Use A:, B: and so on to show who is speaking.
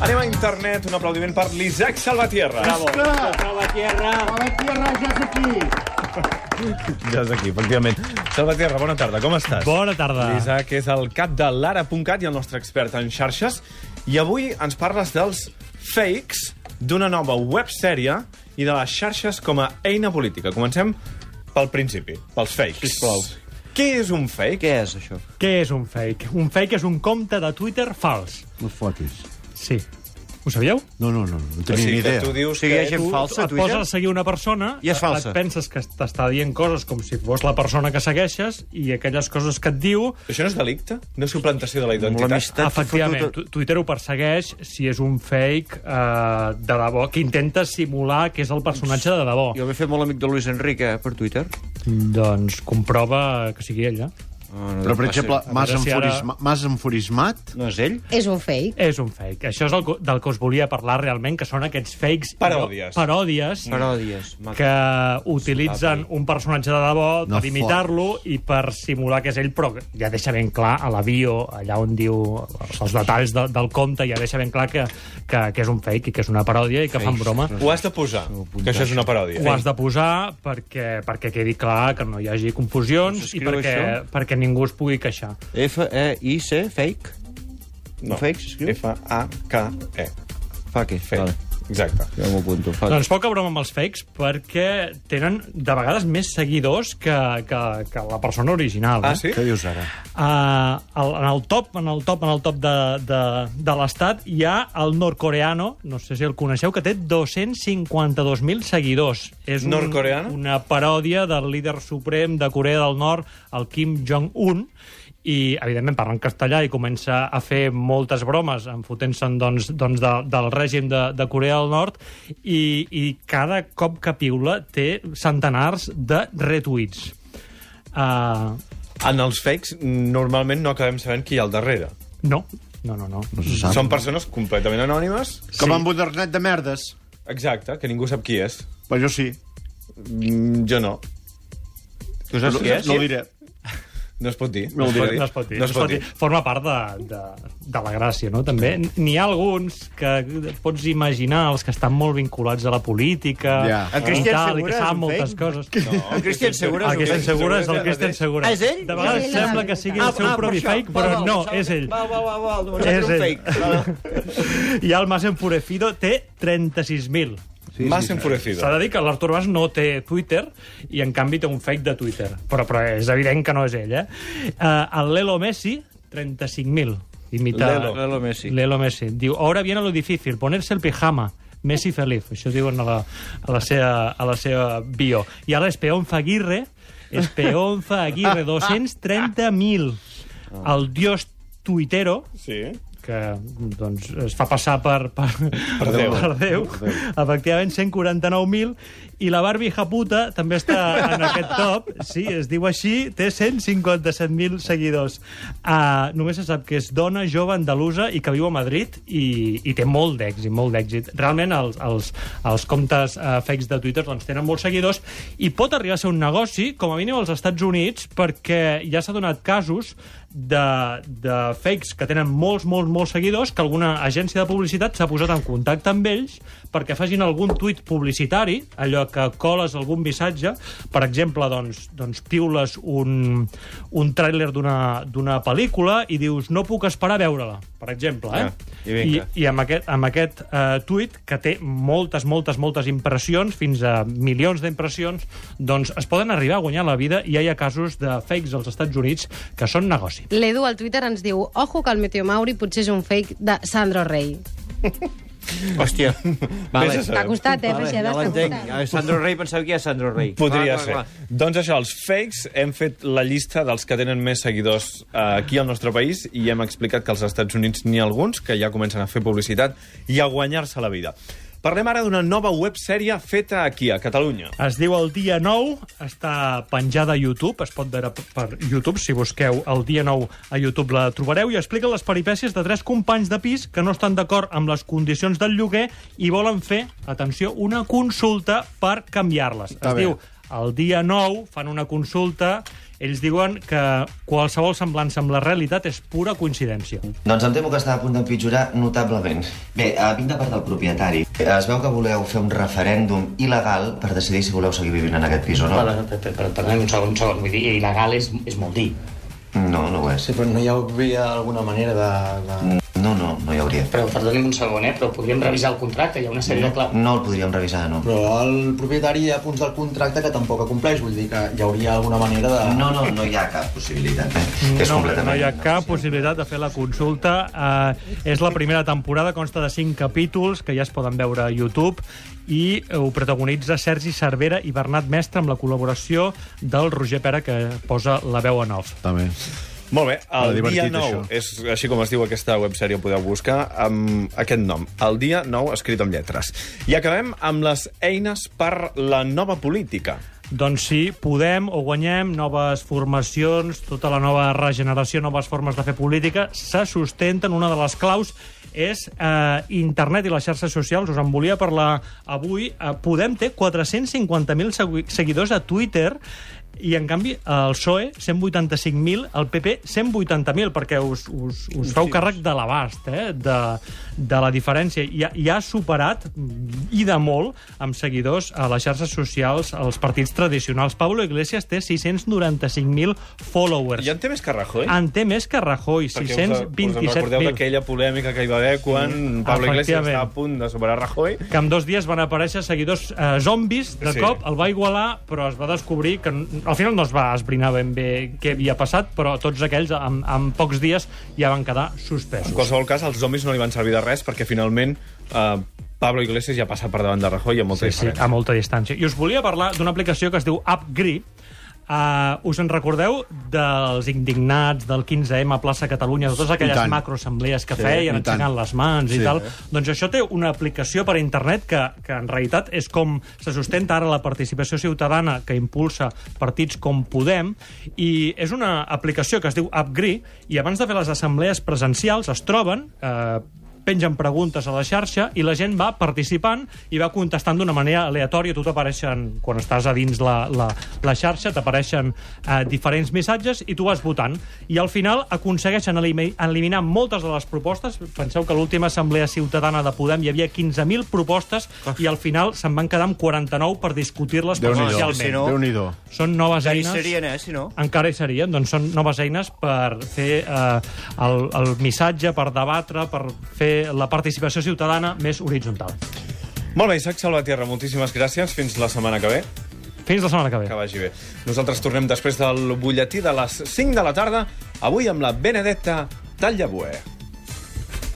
A: Carnet, un aplaudiment per l'Isaac Salvatierra.
B: Bravo.
C: Clar.
D: Tota
B: Salvatierra.
C: A Tota la tierra ja és aquí.
A: Ja és aquí, efectivament. Salvatierra, bona tarda, com estàs?
E: Bona tarda.
A: L'Isaac és el cap de l'ara.cat i el nostre expert en xarxes. I avui ens parles dels fakes d'una nova websèrie i de les xarxes com a eina política. Comencem pel principi, pels fakes.
D: Sisplau.
A: Què és un fake?
D: Què és això?
E: Què és un fake? Un fake és un compte de Twitter fals.
C: No et fotis.
E: Sí. Ho sabíeu?
C: No, no, no, no
A: O
C: tenia
A: sigui,
C: ni
A: que
C: idea.
A: tu
D: O
A: dius
D: sigui, hi ha
A: que...
D: gent falsa, a
E: et
D: Twitter?
E: poses a seguir una persona...
D: I és falsa.
E: Et penses que t'està dient coses com si fos la persona que segueixes i aquelles coses que et diu...
A: Això no és delicte? No és suplantació de la
D: Amb
A: identitat?
D: l'amistat
E: Efectivament,
D: fotuda.
E: Tu- Twitter ho persegueix si és un fake eh, de debò, que intenta simular que és el personatge de debò.
D: Jo m'he fet molt amic de Luis Enrique, eh, per Twitter.
E: Doncs comprova que sigui ella.
A: Ah,
C: Però, per exemple, m'has
E: A veure si ara-
C: enfurisma... m'has enfurismat?
D: No és ell?
F: És un fake.
E: És un fake. Això és el, co- del que us volia parlar realment, que són aquests fakes...
A: Paròdies.
E: Paròdies.
D: Mm. Paròdies.
E: que utilitzen un personatge de debò
C: No
E: per imitar-lo i per simular que és ell, però ja deixa ben clar a la bio, allà on diu els detalls de, del compte, ja deixa ben clar que, que, que és un fake i que és una paròdia i que fan broma.
A: Ah, Ho has de posar, que això és una paròdia.
E: Ho has de posar perquè, perquè quedi clar que no hi hagi confusions i
D: s'escriu
E: perquè,
D: això?
E: perquè ningú es pugui queixar.
D: F-E-I-C, fake?
A: No.
D: Fake s'escriu?
A: F-A-K-E. E,
D: Fake.
A: Fake.
D: Vale.
A: Exacte.
D: Ja m'ho apunto. Fake.
E: Doncs poca broma amb els fakes perquè tenen de vegades més seguidors que, que, que la persona original.
A: Ah,
E: eh?
A: sí?
C: Què dius ara?
E: Uh, en el top, en el top, en el top de, de, de l'estat hi ha el nord-coreano, no sé si el coneixeu, que té 252.000 seguidors. És
A: Nord-coreano?
E: una paròdia del líder suprem de Corea del Nord, el Kim Jong-un, i, evidentment, parla en castellà i comença a fer moltes bromes enfotent-se'n doncs, doncs de, del règim de, de Corea del Nord i, i cada cop que piula té centenars de retuits. Uh,
A: En els fakes normalment no acabem sabent qui hi ha al darrere.
E: No, no, no. no.
C: No se sap.
A: Són persones completament anònimes.
C: Com amb un internet de merdes.
A: Exacte, que ningú sap qui és.
C: Però jo sí.
A: Mm, jo no. Tu saps
C: No,
A: qui és?
C: no ho diré.
A: No es pot dir.
C: No ho diré.
E: No es pot dir.
A: No es pot dir.
E: Forma part de, de, de la gràcia, no? També n'hi ha alguns que pots imaginar, els que estan molt vinculats a la política...
C: Ja.
D: En
E: i
D: Christian
E: tal, I
D: Segura és
E: que
D: un
E: saben moltes
D: fake?
E: coses.
A: No,
D: El Christian
E: El
D: Segura és un
E: Christian
D: fake.
A: Segura
E: Segura és el
A: és
E: Christian
A: el
E: Segura.
D: mateix. Ah, és ell?
E: De
F: És
E: vegades
F: ell,
E: sembla
F: la
E: que sigui el
D: Ah,
F: veritat.
E: seu propi fake, però no, és ell.
D: Val, val, val, val.
E: És
D: És un
E: ell.
D: fake. Val.
E: I el Mas Enfurecido té 36.000.
A: sí, Más sí, enfurecido.
E: S'ha de dir que l'Artur Mas no té Twitter i, en canvi, té un fake de Twitter. Però, però és evident que no és ell, eh? Uh, el Lelo Messi, 35.000. Imita...
D: Lelo. Lelo Messi.
E: Lelo Messi. Diu, ahora viene lo difícil, ponerse el pijama. Messi feliz. Això diuen a la, a la, seva, a la seva bio. I ara Espeón Faguirre, Espeón Faguirre, 230.000. El dios tuitero,
A: Sí.
E: que doncs, es fa passar per, per, per,
A: Déu.
E: per Déu. Efectivament, 149.000. I la Barbie Japuta també està en aquest top. Sí, es diu així. Té 157.000 seguidors. Uh, només se sap que és dona jove andalusa i que viu a Madrid i, i té molt d'èxit, molt d'èxit. Realment, els, els, els comptes uh, fakes de Twitter doncs, tenen molts seguidors i pot arribar a ser un negoci, com a mínim als Estats Units, perquè ja s'ha donat casos de, de fakes que tenen molts, molts, molts seguidors, que alguna agència de publicitat s'ha posat en contacte amb ells perquè facin algun tuit publicitari, allò que coles algun missatge, per exemple, doncs, doncs piules un, un tràiler d'una d'una pel·lícula i dius no puc esperar a veure-la, per exemple. Eh?
D: Ah, i vinga.
E: I amb aquest, amb aquest eh, tuit, que té moltes, moltes, moltes impressions, fins a milions d'impressions, doncs es poden arribar a guanyar la vida i ja hi ha casos de fakes als Estats Units que són negoci.
F: L'Edu al Twitter ens diu Ojo que el Meteo Mauri potser és un fake de Sandro Rey.
D: Hòstia. Vale.
A: Vés a
F: T'ha
A: saber.
F: costat, eh,
D: Vale,
F: Freixedes?
D: ja
F: T'ha
D: l'entenc.
F: costat.
D: Eh, Sandro Rey, pensava que hi ha Sandro Rey.
A: Podria
D: Clar,
A: ser.
D: clar,
A: Doncs això, els fakes, hem fet la llista dels que tenen més seguidors eh, aquí al nostre país i hem explicat que als Estats Units n'hi ha alguns que ja comencen a fer publicitat i a guanyar-se la vida. Parlem ara d'una nova websèrie feta aquí, a Catalunya.
E: Es diu El Dia 9, està penjada a YouTube, es pot veure p- per YouTube, si busqueu El Dia 9 a YouTube la trobareu, i explica les peripècies de tres companys de pis que no estan d'acord amb les condicions del lloguer i volen fer, atenció, una consulta per canviar-les. Es
C: bé.
E: diu el dia 9 fan una consulta, ells diuen que qualsevol semblança amb la realitat és pura coincidència.
B: Doncs em temo que està a punt d'empitjorar notablement. Bé, eh, vinc de part del propietari. Eh, Es veu que voleu fer un referèndum il·legal per decidir si voleu seguir vivint en aquest pis o no.
G: Perdona, per, per, per, perdona, un segon, un segon. Vull dir, il·legal és, és molt dir.
B: No, no ho és.
H: Sí, però no hi hauria alguna manera de... de...
B: No, no, no hi hauria.
G: Però perdoni'm un segon, eh? Però podríem revisar el contracte, hi ha una sèrie
B: Mm.
G: de clau...
B: No el podríem revisar, no.
H: Però eh, el propietari hi ha punts del contracte que tampoc compleix, vull dir que hi hauria alguna manera de...
B: No, no, no hi ha cap possibilitat. Eh? és
E: Mm. no,
B: completament...
E: no hi ha cap possibilitat de fer la consulta. Uh, és la primera temporada, consta de 5 capítols, que ja es poden veure a YouTube, i ho protagonitza Sergi Cervera i Bernat Mestre amb la col·laboració del Roger Pera, que posa la veu en off.
C: També.
A: Molt bé,
C: Molt
A: el dia
C: divertit,
A: 9,
C: això.
A: és així com es diu aquesta websèrie, ho podeu buscar amb aquest nom, el dia 9 escrit amb lletres. I acabem amb les eines per la nova política.
E: Doncs sí, podem o guanyem noves formacions, tota la nova regeneració, noves formes de fer política, se sustenten, una de les claus és eh, internet i les xarxes socials. Us en volia parlar avui. Eh, Podem té 450.000 segui- seguidors a Twitter i, en canvi, el PSOE, 185.000, el PP, 180.000, perquè us, us, us feu càrrec de l'abast, eh? de, de la diferència. I, ha- i ha superat, mm, i de molt, amb seguidors a les xarxes socials, als partits tradicionals. Pablo Iglesias té 695.000 followers.
A: I en té més que Rajoy?
E: En té més que Rajoy,
A: Perquè us- Us en recordeu
E: 627.000.
A: d'aquella polèmica que hi va haver quan Pablo Iglesias
E: Mm, Efectivament.
A: estava a punt de superar Rajoy?
E: que en dos dies van aparèixer seguidors eh, zombis, de
A: Sí.
E: sí. cop el va igualar, però es va descobrir que n- al final no es va esbrinar ben bé què havia passat, però tots aquells en, en pocs dies ja van quedar
A: En
E: suspesos.
A: qualsevol cas, els zombis no li van servir de res perquè finalment eh, Pablo Iglesias ja passa per davant de Rajoy amb molta
E: Sí, Ah. sí,
A: diferència.
E: a molta distància. I us volia parlar d'una aplicació que es diu AppGri, Uh, us en recordeu dels indignats del 15M a plaça Catalunya, de totes
C: I
E: aquelles
C: tant.
E: macroassemblees que
C: Sí,
E: feien,
C: i tant.
E: aixecant les mans
C: Sí.
E: i tal? Doncs això té una aplicació per internet que, que en realitat és com se sustenta ara la participació ciutadana que impulsa partits com Podem i és una aplicació que es diu AppGri i abans de fer les assemblees presencials es troben eh, pengen preguntes a la xarxa i la gent va participant i va contestant d'una manera aleatòria. A Tu t'apareixen, quan estàs a dins la, la, la xarxa, t'apareixen eh, diferents missatges i tu vas votant. I al final aconsegueixen elimi- eliminar moltes de les propostes. Penseu que a l'última assemblea ciutadana de Podem hi havia 15.000 propostes i al final se'n van quedar amb 49 per discutir-les
C: Déu-n'hi-do.
D: si
E: presencialment.
D: no-
C: Déu-n'hi-do.
E: Són noves
D: Ja hi
E: eines
D: serien, eh, si no.
E: encara hi serien, doncs són noves eines per fer eh, el, el missatge, per debatre, per fer la participació ciutadana més horitzontal.
A: Molt bé, Isaac Salvatierra, moltíssimes gràcies. Fins la setmana que ve.
E: Fins la setmana que ve.
A: Que vagi bé. Nosaltres tornem després del butlletí de les 5 de la tarda, avui amb la Benedetta Tallabué.